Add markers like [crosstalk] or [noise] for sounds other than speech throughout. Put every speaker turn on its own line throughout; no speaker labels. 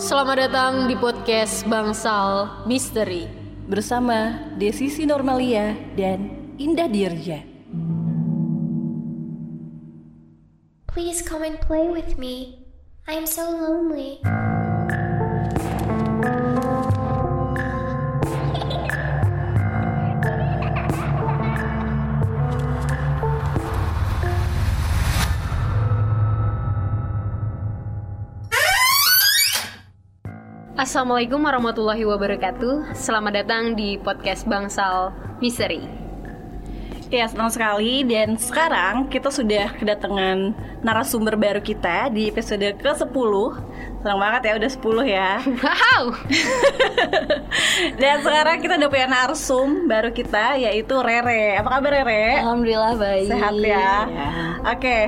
Selamat datang di podcast Bangsal Misteri.
bersama Desisi Normalia dan Indah Dirja.
Please come and play with me. I am so lonely.
Assalamualaikum warahmatullahi wabarakatuh. Selamat datang di podcast Bangsal Misteri.
Ya, senang sekali dan sekarang kita sudah kedatangan narasumber baru kita di episode ke-10. Senang banget ya, udah 10 ya. [laughs]
Wow.
Dan sekarang kita udah punya narsum baru kita yaitu Rere. Apa kabar Rere?
Alhamdulillah
Eh,
baik.
Sehat
Iya.
ya. Oke,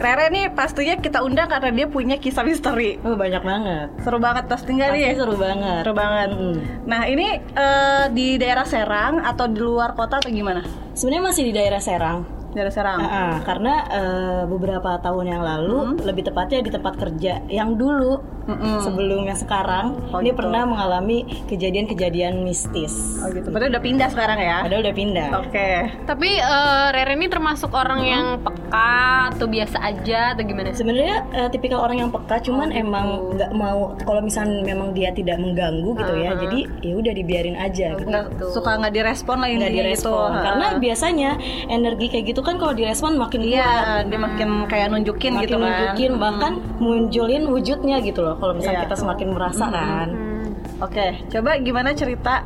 Rere nih pastinya kita undang karena dia punya kisah misteri.
Oh, banyak banget.
Seru banget pasti nggak
Pasti
nih?
seru banget.
Iya, Seru banget.
Mm.
Nah ini eh, di daerah Serang atau di luar kota atau gimana?
Sebenarnya masih di daerah Serang.
Daerah Serang.
Ah, ah, karena eh, beberapa tahun yang lalu,
Hmm.
lebih tepatnya di tempat kerja yang dulu sebelum yang sekarang,
Oh,
dia
gitu.
pernah mengalami kejadian-kejadian mistis.
Oh gitu. Padahal udah pindah sekarang ya.
Padahal udah pindah.
Oke.
Tapi eh, Rere ini termasuk orang yang peka atau biasa aja atau gimana?
Sebenarnya eh, tipikal orang yang peka, cuman
Oh,
emang
gitu.
nggak mau kalau misalnya memang dia tidak mengganggu gitu ya, jadi ya udah dibiarin aja. gitu.
Ah, Nggak
Gitu.
suka nggak direspon lah
nggak
intinya
direspon
gitu.
karena biasanya energi kayak gitu kan kalau direspon makin
Iya,
kuat
dia makin kayak nunjukin
makin
gitu kan.
nunjukin bahkan munculin wujudnya gitu loh kalau
Iya.
misalnya
Hmm.
kita semakin merasa kan
Oke, coba gimana cerita?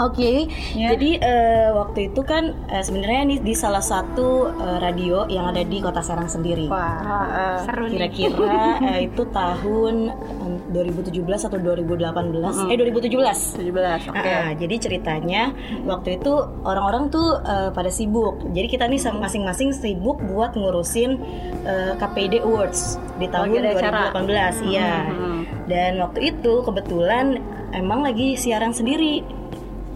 Oke,
Iya.
jadi eh, waktu itu kan eh, sebenarnya nih di salah satu eh, radio yang ada di Kota Serang sendiri.
Wah,
Ah,
eh,
Seru nih.
Kira-kira
[laughs]
eh, itu tahun eh, 2017 atau 2018?
Hmm.
Eh 2017.
17. Oke.
Ah, jadi ceritanya waktu itu orang-orang tuh eh, pada sibuk. Jadi kita nih sama- masing-masing sibuk buat ngurusin eh, KPD Awards di tahun
Lagi Oh, ada acara. Hmm,
2018, iya. Dan waktu itu kebetulan emang lagi siaran sendiri.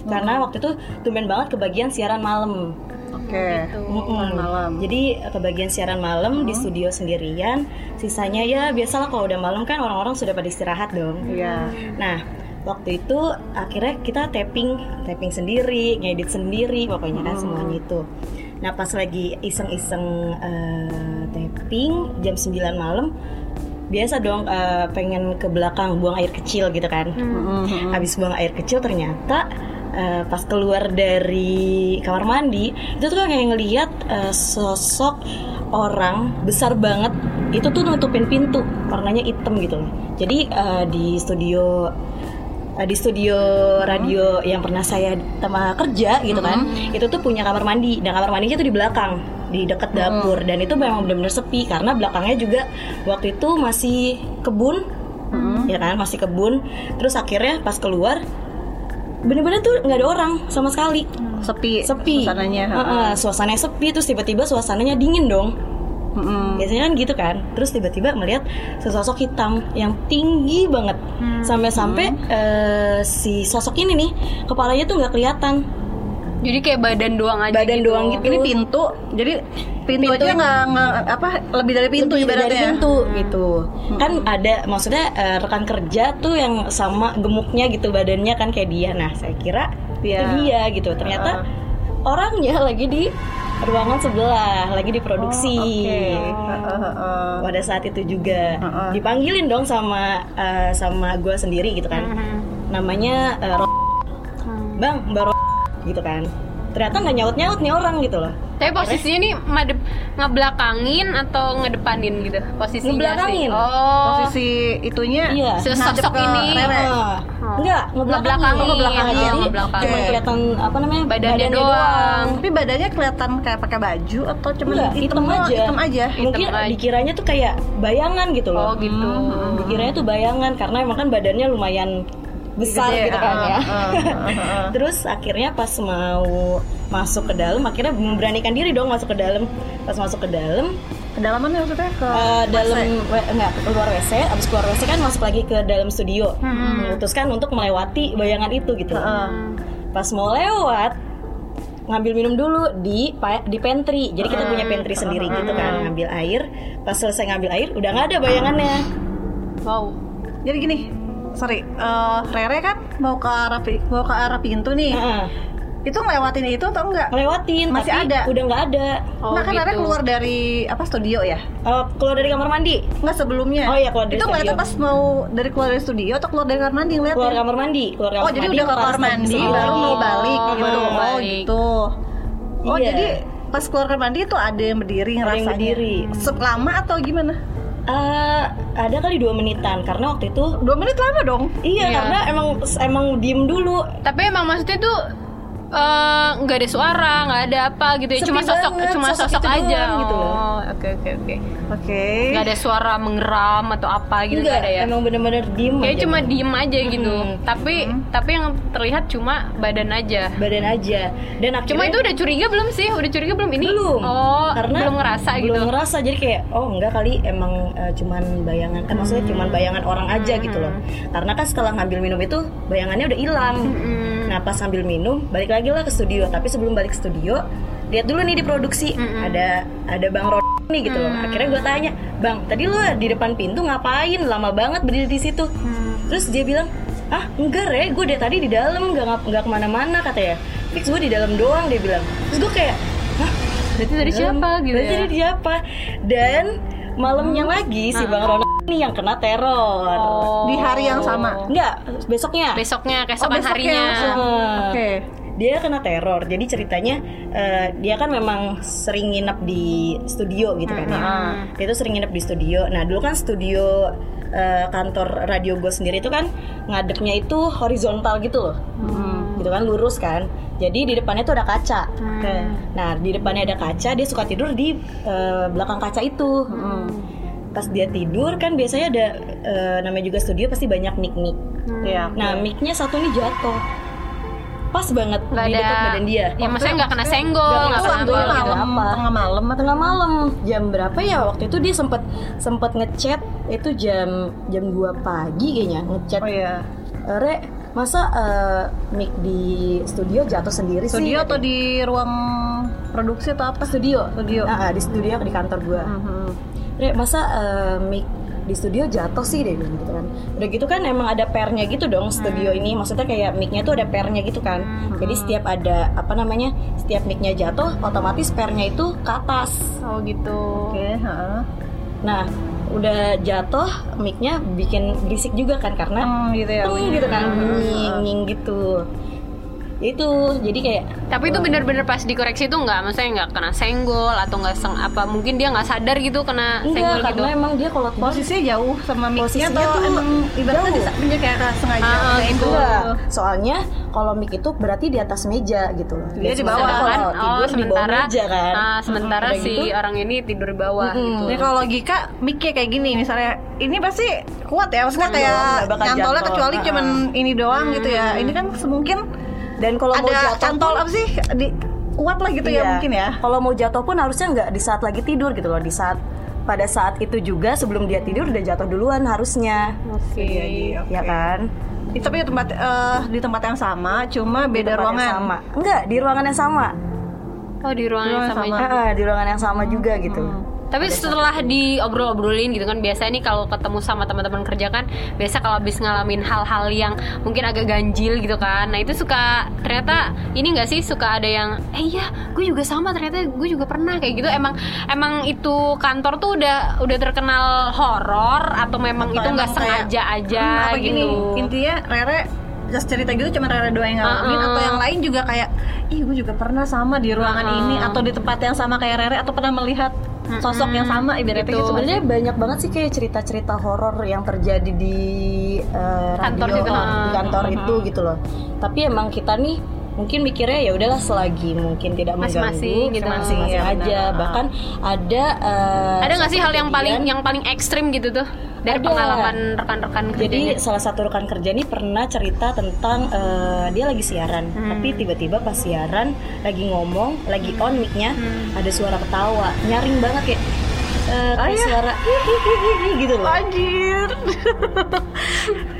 Oh.
Karena waktu itu tumben banget kebagian siaran malam.
Oke.
Gitu. Mm-mm.
Oh, malam. Hmm.
Jadi eh, kebagian siaran malam di studio sendirian. Sisanya ya biasalah kalau udah malam kan orang-orang sudah pada istirahat dong.
Iya.
Nah, waktu itu akhirnya kita tapping, tapping sendiri, ngedit sendiri, pokoknya kan semuanya itu. Nah, pas lagi iseng-iseng eh, tapping jam 9 malam, biasa dong eh, pengen ke belakang buang air kecil gitu kan. Habis buang air kecil ternyata eh, pas keluar dari kamar mandi, itu tuh kayak ngelihat eh, sosok orang besar banget itu tuh nutupin pintu warnanya hitam gitu loh. Jadi eh, di studio eh, di studio radio yang pernah saya tema kerja gitu kan, itu tuh punya kamar mandi dan kamar mandinya tuh di belakang di dekat dapur dan itu memang benar-benar sepi karena belakangnya juga waktu itu masih kebun ya kan masih kebun terus akhirnya pas keluar bener-bener tuh nggak ada orang sama sekali
Sepi.
Hmm. sepi Ah,
Suasananya.
Heeh, suasananya sepi terus tiba-tiba suasananya dingin dong
Mm-mm.
biasanya kan gitu kan terus tiba-tiba melihat sesosok hitam yang tinggi banget sampai-sampai eh, si sosok ini nih kepalanya tuh nggak kelihatan
Jadi kayak badan doang aja.
badan
gitu.
doang gitu ya?
Ini pintu. Jadi pintu, aja nggak nggak apa lebih dari pintu
Lebih
ibaratnya. ya? Hmm.
dari pintu gitu kan ada maksudnya eh, rekan kerja tuh yang sama gemuknya gitu badannya kan kayak dia nah saya kira itu
Iya.
dia gitu ternyata orangnya lagi di ruangan sebelah lagi di produksi
Oh, Oke.
Iya.
Heeh, heeh.
pada saat itu juga
Heeh.
dipanggilin dong sama eh, sama gue sendiri gitu kan namanya eh, Ro-
Hmm.
bang mbak Ro- gitu kan ternyata nggak nyaut nyaut nih orang gitu loh
Tapi posisinya nih madep ngebelakangin atau ngedepanin gitu posisinya sih?
Ngebelakangin.
Oh.
Posisi itunya
Iya.
ngadep
Sosok
ke
ini.
Rere.
Ah, enggak
Ngebelakangin.
ngebelakangin Oh,
Oh,
ngebelakangin. Jadi
ngebelakangin.
cuma kelihatan apa namanya
Badannya doang.
Tapi badannya kelihatan kayak pakai baju atau cuma
Enggak, Iya, hitam, aja.
Hitam aja.
Mungkin
Hitam aja.
dikiranya tuh kayak bayangan gitu loh.
Oh gitu.
Hmm, Dikiranya tuh bayangan karena emang kan badannya lumayan besar
Gede,
gitu
ah,
kan
ah,
ya.
ah, ah.
[laughs] Terus akhirnya pas mau masuk ke dalam, akhirnya memberanikan diri dong masuk ke dalam. Pas masuk ke dalam,
Kedalamannya maksudnya ke
eh, dalam we- enggak keluar WC, abis keluar WC kan masuk lagi ke dalam studio. Memutuskan untuk melewati bayangan itu gitu.
Hmm. Heeh.
Pas mau lewat ngambil minum dulu di pa- di pantry. Jadi kita punya pantry sendiri gitu kan, ngambil air. Pas selesai ngambil air udah nggak ada bayangannya.
Wow.
Jadi gini, sorry eh, Rere kan mau ke arah pi- mau ke arah pintu nih
Heeh.
itu ngelewatin itu atau enggak
Ngelewatin,
Masih
tapi
ada?
Udah nggak ada.
Oh,
nah kan Rere
gitu.
keluar dari apa studio ya
Eh, keluar dari kamar mandi,
Enggak sebelumnya
Oh, iya, keluar dari
itu ngeliatnya
studio.
pas mau dari keluar dari studio atau keluar dari kamar mandi ngeliatnya
keluar kamar mandi, keluar kamar
oh jadi
mandi,
udah ke kamar mandi
stasiun.
baru mau balik
Oh,
gitu
baru
oh
balik.
gitu oh
Iya.
jadi pas keluar kamar mandi itu ada yang berdiri
Ada
ngerasanya
yang berdiri.
selama atau gimana
Eh, ada kali dua menitan karena waktu itu
dua menit lama dong
Iya,
Iya.
karena emang emang diem dulu.
Tapi emang maksudnya tuh eh, nggak ada suara, nggak ada apa gitu ya.
Sepi
Cuma sosok,
banget,
cuma
sosok
sosok,
itu
aja
doang gitu loh.
Oh, oke oke oke.
oke
Nggak ada suara mengeram atau apa gitu nggak
Enggak,
ada ya.
emang bener-bener diem
Kayaknya
aja.
cuma diem aja gitu.
Mm-mm.
Tapi
Hmm.
tapi yang terlihat cuma badan aja.
badan aja. Dan akhirnya
Cuma itu udah curiga belum sih? Udah curiga belum ini?
belum.
Oh,
karena
belum ngerasa
belum
gitu.
ngerasa jadi kayak oh enggak kali emang eh, cuman bayangan. Eh, maksudnya
Hmm.
cuman bayangan orang aja gitu loh. Karena kan setelah ngambil minum itu bayangannya udah hilang.
Mm.
Nah, pas sambil minum balik lagi lah ke studio. Tapi sebelum balik ke studio lihat dulu nih di produksi
Hmm,
ada ada Bang Rod nih gitu loh. Akhirnya gue tanya, "Bang, tadi lu di depan pintu ngapain? Lama banget berdiri di situ."
Hmm.
Terus dia bilang, "Ah, enggak, Re, gue dari tadi di dalam nggak ngap- nggak kemana mana katanya. Fix gue di dalam doang," dia bilang. Terus gue kayak, "Hah,
Berarti dari siapa
Dalam-
gitu
Iya. berarti
ya? Hmm.
dari siapa dan malamnya lagi si bang Ronald ini yang kena teror
Nah. Oh.
di hari yang sama
enggak Oh, besoknya
Besoknya, keesokan
besoknya
harinya.
langsung.
Hmm.
Oke.
dia kena teror jadi ceritanya eh, dia kan memang sering nginep di studio gitu kan ya dia tuh sering nginep di studio nah dulu kan studio eh, kantor radio gue sendiri itu kan ngadepnya itu horizontal gitu loh gitu kan lurus kan jadi di depannya tuh ada kaca
Oke.
Nah, di depannya ada kaca, dia suka tidur di eh, belakang kaca itu. Pas dia tidur kan biasanya ada eh, namanya juga studio pasti banyak mic-mic.
Iya.
Nah, mic-nya satu ini jatuh. Pas banget
Nggak
di
ada.
dekat badan dia.
Ya maksudnya nggak kena senggol, nggak
Nggak kena
kena
Itu
apa
senggol,
gitu.
malam,
Apa?
tengah malam atau
Tengah malam, jam berapa ya waktu itu dia sempet sempet ngechat itu jam jam 2 pagi kayaknya ngechat
oh iya
Re, masa eh, mic di studio jatuh sendiri sih?
studio atau di ruang produksi atau apa
studio
Studio.
Ah, ah, di studio di kantor gua
Mhm.
Re, masa eh, mic di studio jatuh sih deh gitu kan udah gitu kan emang ada pernya gitu dong studio
Hmm.
ini maksudnya kayak micnya tuh ada pernya gitu kan jadi setiap ada apa namanya setiap micnya jatuh otomatis pernya itu ke atas
Oh gitu.
oke heeh.
nah udah jatuh micnya bikin berisik juga kan karena
Hmm, gitu ya
teng [laughs] gitu kan
Iya,
nying, nying gitu itu jadi kayak
Tapi itu benar-benar pas dikoreksi itu nggak, maksudnya nggak kena senggol atau nggak seng apa? Mungkin dia nggak sadar gitu kena senggol
enggak
gitu.
karena emang dia kalau tidur
posisinya jauh sama mic-nya
Posisinya
atau
tuh
emang ibaratnya
jauh.
bisa dia kayak sengaja
Ah,
kayak
gitu.
itu
Enggak. Iya, Soalnya kalau mic itu berarti di atas meja gitu loh.
Dia Iya, di
Biasanya
bawah kan? Oh,
kalau
Sedangkan, oh,
tidur di bawah meja kan.
eh,
ah, sementara
Udah
si
gitu,
orang ini tidur di bawah
Mm-mm.
gitu.
Jadi kalau logika mic-nya kayak gini misalnya ini pasti kuat ya maksudnya
Enggak,
kayak
enggak bakal
nyantolnya
jatuh.
kecuali
Ah.
cuman ini doang gitu ya ini kan semungkin
dan kalau mau
ada
jatuh
cantol
pun-
apa sih di, kuat lah gitu
iya.
ya mungkin ya
Kalau mau jatuh pun harusnya nggak di saat lagi tidur gitu loh, di saat pada saat itu juga sebelum dia tidur udah jatuh duluan harusnya.
Oke.
Ya kan?
Ih, Iya tapi di tempat eh, di tempat yang sama cuma
Di
beda
tempat yang
ruangan
sama. Enggak, di ruangan yang sama.
Oh di ruangan yang sama.
iya.
Eh, eh, di ruangan yang sama juga gitu.
Hmm.
Tapi setelah diobrol-obrolin gitu kan biasanya nih kalau ketemu sama teman-teman kerja kan biasa kalau habis ngalamin hal-hal yang mungkin agak ganjil gitu kan. Nah, itu suka ternyata ini enggak sih suka ada yang eh iya, gue juga sama ternyata gue juga pernah kayak gitu. Emang emang itu kantor tuh udah udah terkenal horor atau memang
Atau
itu nggak
emang kayak,
sengaja
Ya,
aja
Hmm, apa
gitu.
gini intinya Rere just cerita gitu cuma Rere doang yang
Ah,
ngalamin
Uh-uh.
atau yang lain juga kayak ih gue juga pernah sama di ruangan
Ah,
Uh-uh.
ini atau di tempat yang sama kayak Rere atau pernah melihat sosok yang sama ibaratnya
Gitu.
gitu.
Sebenarnya banyak banget sih kayak cerita-cerita horor yang terjadi di eh,
Kantor
radio,
juga.
di kantor itu gitu loh. Tapi emang kita nih mungkin mikirnya ya udahlah selagi mungkin tidak
Masing-masing
mengganggu
gitu.
masing-masing
Iya,
aja.
benar.
Bahkan ada eh,
Ada nggak sih hal yang paling
kejadian-
yang paling ekstrim gitu tuh dari
Ada.
pengalaman rekan-rekan kerjanya?
jadi salah satu rekan kerja nih pernah cerita tentang eh, dia lagi siaran,
Hmm.
tapi tiba-tiba pas siaran lagi ngomong, lagi on mic-nya
Hmm.
ada suara ketawa, nyaring banget kayak eh,
Oh,
kayak
iya. [laughs]
suara [laughs] gitu loh.
Anjir. [laughs]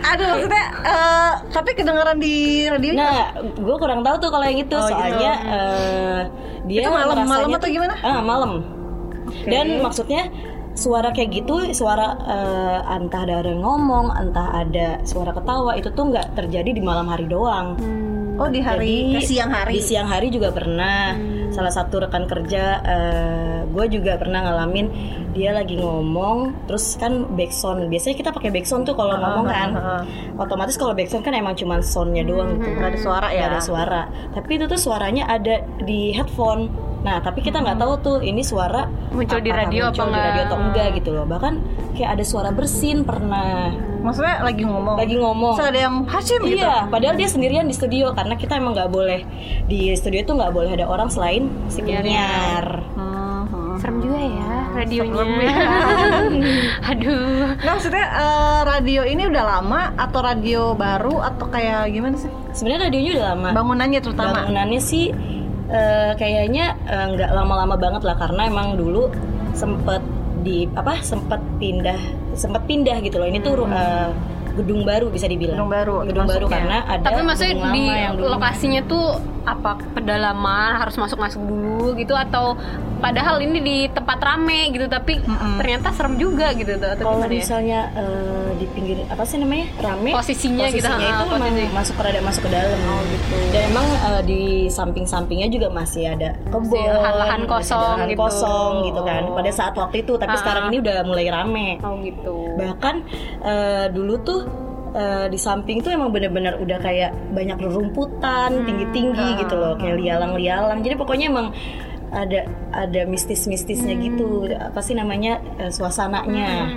Aduh maksudnya eh, tapi kedengaran di radio
Nah, gue kurang tahu tuh kalau yang itu
Oh, gitu.
soalnya eh, dia
Itu malam-
ngerasanya
malam atau
tuh-
gimana?
Ah, malam. Dan maksudnya suara kayak gitu suara eh, entah ada orang ngomong entah ada suara ketawa itu tuh nggak terjadi di malam hari doang
Oh di hari
Jadi,
ke siang hari. Hmm.
di siang hari juga pernah salah satu rekan kerja gue juga pernah ngalamin dia lagi ngomong terus kan backsound biasanya kita pakai backsound tuh
Ah,
kalau ngomong kan
heeh.
otomatis kalau backsound kan emang cuman soundnya doang gitu
Nggak ada suara ya.
Nggak ada suara tapi itu tuh suaranya ada di headphone nah tapi kita nggak tahu tuh ini suara
Hmm. Muncul di
apakah
radio apa
muncul di
nggak?
radio atau enggak gitu loh bahkan kayak ada suara bersin pernah
Maksudnya lagi ngomong.
lagi ngomong
Terus ada yang Hashim gitu.
Iya, padahal dia sendirian di studio karena kita emang nggak boleh di studio itu nggak boleh ada orang selain si
Iya,
penyiar.
Hmm, hmm.
Serem juga ya radionya.
Serem ya.
Aduh.
Nah, maksudnya eh, radio ini udah lama atau radio baru atau kayak gimana sih?
Sebenarnya radionya udah lama.
Bangunannya terutama.
Bangunannya sih eh, kayaknya eh, nggak lama-lama banget lah karena emang dulu sempet di apa sempet pindah sempet pindah gitu loh. Ini tuh ru- eh, gedung baru bisa dibilang.
Gedung baru
Gedung baru
maksudnya.
karena ada
Tapi maksudnya
gedung
di
lama yang dulu.
lokasinya tuh apa pedalaman harus masuk-masuk dulu gitu atau padahal ini di tempat rame gitu tapi
Mm-mm.
ternyata serem juga gitu tuh atau
kalau
gimana ya?
misalnya eh, di pinggir apa sih namanya rame
Posisinya gitu,
posisinya
ha,
itu memang
posisi.
masuk ke rada masuk ke dalam Oh, dan emang eh, di samping-sampingnya juga masih ada kebun
Masih lahan-lahan
masih ada
kosong
lahan
gitu.
kosong gitu kan pada saat waktu itu tapi
Ah.
sekarang ini udah mulai rame
Oh gitu.
bahkan eh, dulu tuh eh, di samping tuh emang bener-bener udah kayak banyak rerumputan tinggi-tinggi gitu loh kayak lialang-lialang jadi pokoknya emang ada ada mistis-mistisnya gitu apa sih namanya eh, suasananya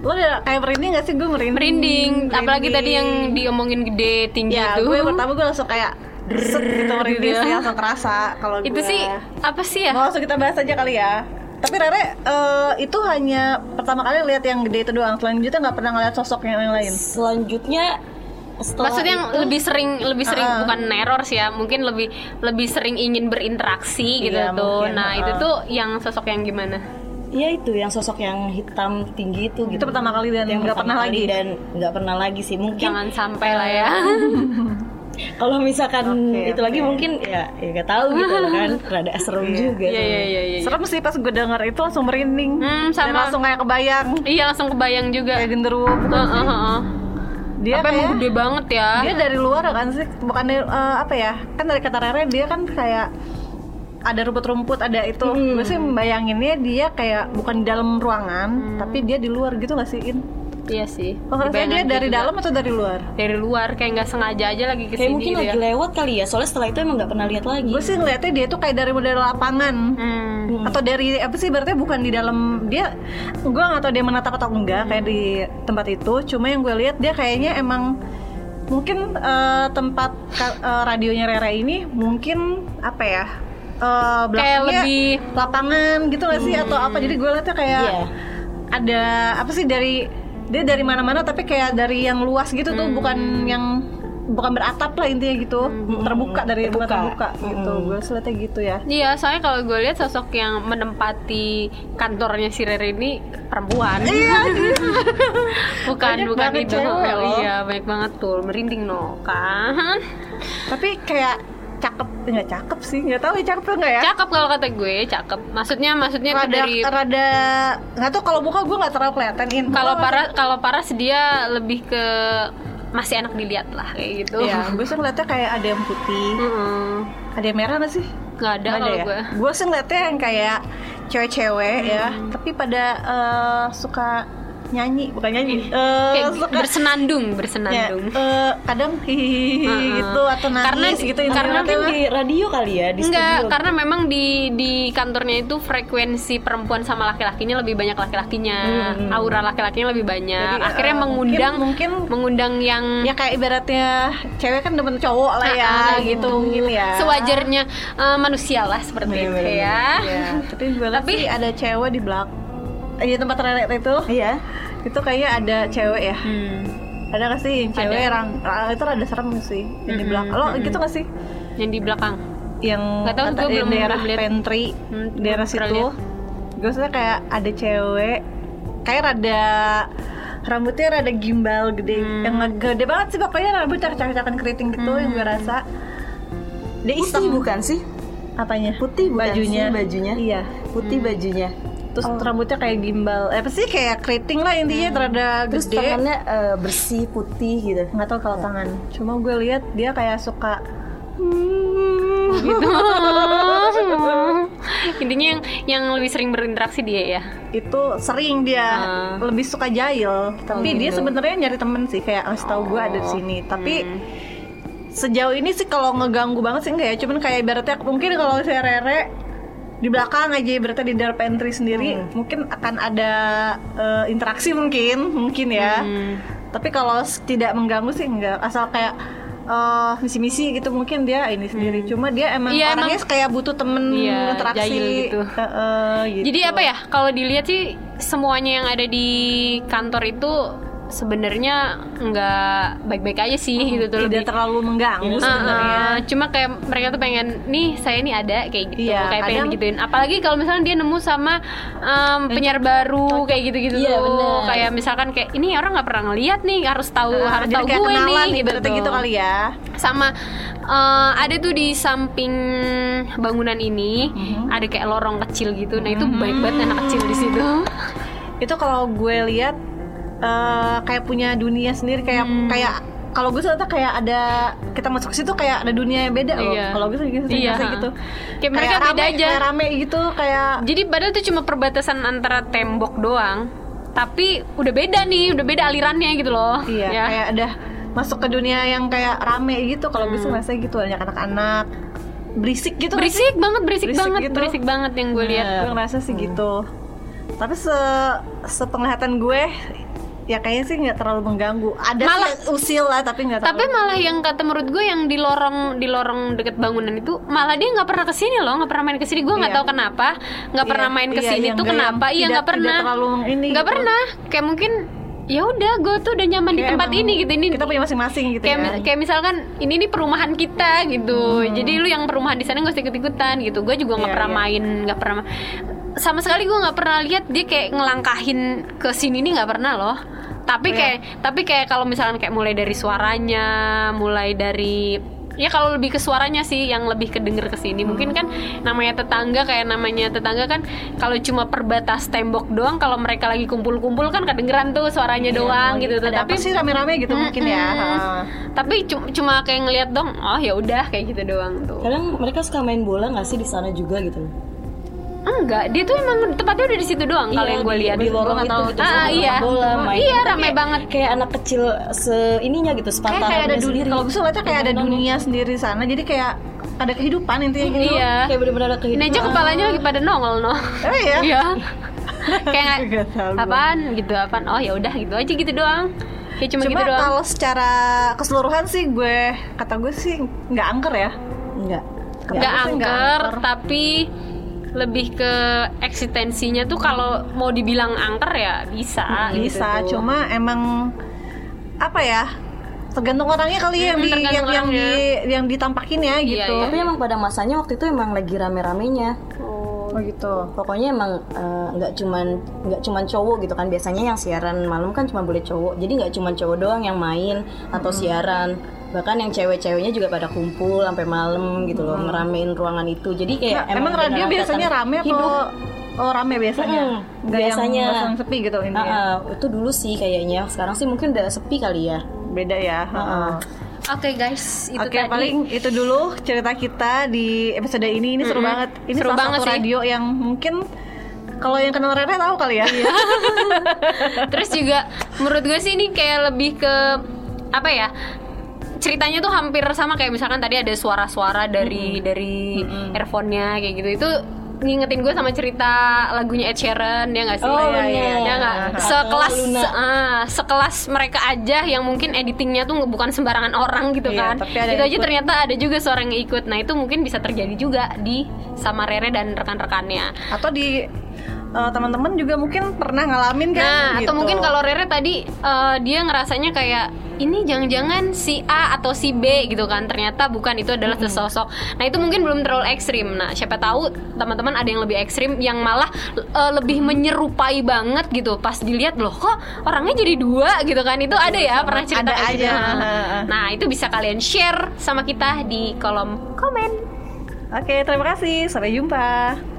Lo udah kayak merinding gak sih? Gue merinding.
merinding apalagi tadi yang gitu. diomongin gede tinggi
Hmm, Ya,
itu
gue pertama gue langsung kayak set gitu merinding sih langsung kerasa kalau
itu
gue.
sih apa sih ya
Mau langsung kita bahas aja kali ya. Tapi Rere eh, itu hanya pertama kali lihat yang gede itu doang. Selanjutnya nggak pernah ngeliat sosoknya yang lain.
selanjutnya setelah
maksudnya yang
itu,
lebih sering lebih sering
Uh-uh.
bukan neror sih ya mungkin lebih lebih sering ingin berinteraksi gitu
Iya,
tuh
mungkin,
nah
uh-uh.
itu tuh yang sosok yang gimana
ya itu yang sosok yang hitam tinggi itu gitu
Itu pertama kali dan
Yang
nggak
pertama
pernah
kali
lagi.
dan nggak pernah lagi sih mungkin
jangan sampai lah ya
kalau misalkan
Oke,
itu lagi
oke.
mungkin ya ya nggak tahu gitu loh kan rada serem juga
[laughs] iya iya iya iya
Serem sih pas gue denger itu langsung merinding.
Hmm,
Dan
sama.
langsung kayak kebayang
iya langsung kebayang juga
kayak genderuwo.
Uh, uh, uh, uh.
Dia
apa emang
kayak-
gede banget ya
dia dari luar kan sih bukan dari, eh, apa ya kan dari kata Rere dia kan kayak ada rumput-rumput ada itu gue sih membayanginnya dia kayak bukan di dalam ruangan tapi dia di luar gitu nggak sih in
iya sih
maksudnya
Dibayangin gitu,
dia dari
juga.
dalam atau dari luar
dari luar kayak nggak sengaja aja lagi kesini
kayak mungkin
gitu
lagi
ya
lewat kali ya soalnya setelah itu emang nggak pernah lihat lagi
gue sih ngeliatnya dia tuh kayak dari dari lapangan
Hmm.
atau dari apa sih berarti bukan di dalam dia gue nggak tahu dia menatap atau enggak kayak di tempat itu cuma yang gue lihat dia kayaknya emang mungkin eh, tempat ka- eh, radionya Rere ini mungkin apa ya eh,
kayak
belakangnya
lebih
lapangan gitu gak sih atau apa jadi gue liatnya kayak
Iya.
ada apa sih dari dia dari mana-mana tapi kayak dari yang luas gitu tuh
Hmm.
bukan yang bukan beratap lah intinya gitu terbuka dari tempat terbuka gitu
Hmm.
gue sih liatnya gitu ya
Iya, soalnya kalau gue lihat sosok yang menempati kantornya si Rere ini perempuan. [laughs] bukan
Banyak
bukan
banget
itu.
cewek loh.
Iya, baik banget tuh, merinding no kan.
tapi kayak cakep nggak cakep sih nggak tahu ya cakep nggak ya
Cakep kalau kata gue, cakep. Maksudnya maksudnya tuh
rada
dari
rada nggak tahu kalau muka gue nggak terlalu kelihatan Iya, in
kalau para kalau paras dia lebih ke masih enak dilihat lah kayak gitu.
ya gue sih ngeliatnya kayak ada yang putih
[laughs] Mm-mm.
ada yang merah nggak sih
Nggak Hmm. ada Eh,
Nggak
kalau
ya?
gue.
Gue sih ngeliatnya yang kayak cewek-cewek ya,
Hmm.
tapi pada eh, suka nyanyi, bukan nyanyi, eh,
Kayak
suka
bersenandung,
ya,
bersenandung.
eh, kadang hihihi
Heeh.
gitu atau nangis
Karena-
gitu ini
karena
ngeliatnya
mungkin
mah.
di radio kali ya di
Enggak,
studio.
karena memang di di kantornya itu frekuensi perempuan sama laki-lakinya lebih banyak laki-lakinya, aura laki-lakinya lebih banyak.
Hmm. Jadi,
Akhirnya
eh,
mengundang
mungkin, mungkin
mengundang yang
ya kayak ibaratnya cewek kan demen cowok lah ya
Ah, ah,
gitu mungkin ya.
sewajarnya eh, manusia lah seperti itu ya.
Ya, Iya, tapi gue liat
Tapi-
sih ada cewek di belak eh, di tempat nenek itu
iya
itu kayaknya ada cewek ya
Hmm,
ada gak sih yang cewek
Ada.
rang- ra- itu rada serem sih yang di
Mm-mm,
belakang lo gitu gak sih
yang di belakang.
yang
Nggak tahu,
kata-
gue
yang
belum-
daerah
belum lihat.
pantry
Hmm,
daerah
belum pernah
situ gue rasa kayak ada cewek kayak rada rambutnya rada gimbal gede
Hmm.
yang gede banget sih pokoknya rambut cak-cakan keriting gitu
Hmm.
yang gue rasa
dia isi bukan sih
apanya
Putih bukan
bajunya
sih bajunya?
iya
putih bajunya
terus rambutnya kayak gimbal eh apa sih kayak keriting lah intinya terada
Terus
gede
tangannya eh, bersih putih gitu.
nggak tahu kalau tangan cuma gue lihat dia kayak suka
gitu. Hmm. Intinya yang yang lebih sering berinteraksi dia ya.
itu sering dia
Ah.
lebih suka jahil tapi dia sebenarnya nyari temen sih kayak kasih tahu gue ada di
Oh.
sini tapi
Hmm.
sejauh ini sih kalau ngeganggu banget sih enggak ya cuman kayak ibaratnya mungkin kalau saya rere di belakang aja ibaratnya di dark entry sendiri
Hmm.
mungkin akan ada eh, interaksi mungkin mungkin ya
Hmm.
tapi kalau s- tidak mengganggu sih enggak asal kayak eh, misi-misi gitu mungkin dia ini sendiri cuma dia emang
Iya,
orangnya kayak butuh temen
Iya,
interaksi
jahil gitu.
Heeh, gitu.
Jadi apa ya? Kalau dilihat sih semuanya yang ada di kantor itu sebenarnya nggak baik-baik aja sih gitu tuh lebih
tidak terlalu
Ah,
mengganggu sebenarnya
ah, cuma kayak mereka tuh pengen nih saya nih ada kayak gitu
Iya,
kayak pengen
kadang-
gituin apalagi kalau misalnya dia nemu sama em, penyiar baru kayak gitu-gitu
Iya,
tuh
bener.
kayak misalkan kayak ini orang nggak pernah ngeliat nih harus tahu
Nah,
harus
jadi
tahu
kayak
gue
kenalan
nih
ibaratnya gitu,
tuh.
kali ya
sama eh, ada tuh di samping bangunan ini
Mm-hmm.
ada kayak lorong kecil gitu nah itu baik banget anak kecil di situ
itu kalau gue lihat eh, kayak punya dunia sendiri kayak
Hmm.
kayak kalau gue ternyata kayak ada kita masuk ke situ kayak ada dunia yang beda loh
Iya.
kalau gue sih gitu sih
Iya.
ngerasa gitu
Kayak mereka
rame,
beda aja.
kayak rame gitu kayak
jadi padahal tuh cuma perbatasan antara tembok doang tapi udah beda nih udah beda alirannya gitu loh
iya
Ya.
kayak ada masuk ke dunia yang kayak rame gitu kalau gue sih ngerasa gitu banyak anak-anak berisik gitu nggak
Hmm.
sih?
berisik banget berisik,
Berisik
banget
gitu.
berisik banget yang gue lihat
gue ngerasa sih
Hmm.
gitu tapi se sepenglihatan gue ya kayaknya sih nggak terlalu mengganggu ada
Malah-
sih usil lah tapi nggak
tapi
terlalu
malah yang kata menurut gue yang di lorong di lorong deket bangunan itu malah dia nggak pernah kesini loh nggak pernah main kesini gue nggak
Iya.
tahu kenapa nggak pernah
Iya,
main
iya,
kesini
yang
tuh
nggak-
kenapa
yang
iya
tidak-
nggak pernah
tidak terlalu ini
nggak
gitu.
pernah kayak mungkin ya udah gue tuh udah nyaman di
Kayak
tempat
emang
ini gitu ini
kita punya masing-masing gitu
kayak,
ya
mi- kayak misalkan ini nih perumahan kita gitu jadi lu yang perumahan di sana gak usah ikut ikutan gitu gue juga nggak
Hmm. Iya,
pernah
iya.
main nggak pernah ma- sama sekali gue nggak pernah lihat dia kayak ngelangkahin ke sini nih nggak pernah loh
Oh, iya.
tapi kayak tapi kayak kalau misalkan kayak mulai dari suaranya mulai dari ya kalau lebih ke suaranya sih yang lebih kedenger ke sini
Hmm.
mungkin kan namanya tetangga kayak namanya tetangga kan kalau cuma perbatas tembok doang kalau mereka lagi kumpul-kumpul kan kedengeran tuh suaranya doang gitu tuh.
Iya, ada
tapi Hmm,
apa sih rame-rame gitu mungkin ya
Mm-mm.
Heeh.
tapi cu- cuma kayak ngelihat dong oh ya udah kayak gitu doang tuh
Kadang mereka suka main bola nggak sih di sana juga gitu loh.
enggak dia tuh emang tempatnya udah di situ doang kalau
Iya,
yang gue
di-
lihat
di lorong
Gua nggak
itu
tahu.
gitu,
Ah,
sama
iya
bola, main.
iya ramai
gitu
banget
Kayak anak kecil se ininya
kayak kayak
gitu
ada
sepantarannya
dunia
sendiri.
kalau gue lihatnya kayak ada dunia sendiri sana jadi kayak ada kehidupan intinya gitu
gitu. iya
Kayak bener-bener ada
ini aja
kehidupan.
kepalanya lagi pada nongol no
oh gitu iya [laughs]
iya kayak nggak-
Nggak tahu gua.
apaan gitu apaan oh ya udah gitu aja gitu doang ya cuma,
cuma
gitu doang
kalau secara keseluruhan sih gue kata gue sih nggak angker ya
Enggak.
nggak
Aku sih nggak
angker
angker.
tapi lebih ke eksistensinya tuh kalau mau dibilang angker ya bisa gitu
Hmm, bisa
tuh.
cuma emang apa ya tergantung orangnya kali ya yang
Mm,
di yang,
tergantung
yang di yang ditampakin ya
Iya,
gitu
iya.
Tapi emang pada masanya waktu itu emang lagi rame-ramenya.
oh gitu
Pokoknya emang eh, nggak cuman nggak cuman cowok gitu kan. Biasanya yang siaran malam kan cuma boleh cowok. Jadi nggak cuman cowok doang yang main atau siaran. Bahkan yang cewek-ceweknya juga pada kumpul sampai malam gitu loh, ngeramein ruangan itu.
Nah,
Jadi kayak
emang,
beneran
radio
kelihatan
biasanya rame
hidup.
atau oh rame biasanya
Mm,
Nggak yang
biasanya.
kosong sepi gitu ini
Ah, ah, itu dulu sih kayaknya. Sekarang sih mungkin udah sepi kali ya.
beda ya heeh.
Oke guys, itu
Oke
tadi.
paling itu dulu cerita kita di episode ini ini seru banget ini
Seru
salah
banget
satu
sih.
radio yang mungkin kalau yang kenal Rere tahu kali ya
Iya. Terus juga menurut gue sih ini kayak lebih ke apa ya? Ceritanya tuh hampir sama kayak misalkan tadi ada suara-suara dari dari earphone-nya kayak gitu. Itu ngingetin gue sama cerita lagunya Ed Sheeran ya nggak sih?
Oh,
Iya, iya.
bener.
Ya nggak?
Atau
Sekelas
Luna.
se- ah, sekelas mereka aja yang mungkin editingnya tuh bukan sembarangan orang gitu
Iya,
kan.
tapi
Itu
ada
aja
yang ikut.
ternyata ada juga suara yang ikut. Nah, itu mungkin bisa terjadi juga di sama Rere dan rekan-rekannya.
[laughs] atau di eh, teman-teman juga mungkin pernah ngalamin kan
Nah, atau
gitu.
mungkin kalau Rere tadi eh, dia ngerasanya kayak ini jangan-jangan si A atau si B gitu kan. Ternyata bukan itu adalah sesosok. Nah, itu mungkin belum terlalu ekstrim. Nah, siapa tahu teman-teman ada yang lebih ekstrim yang malah eh, lebih menyerupai banget gitu. Pas dilihat loh kok orangnya jadi dua gitu kan. Itu ada ya pernah cerita
Ada
kayak gitu.
aja.
Nah, itu bisa kalian share sama kita di kolom komen.
oke terima kasih sampai jumpa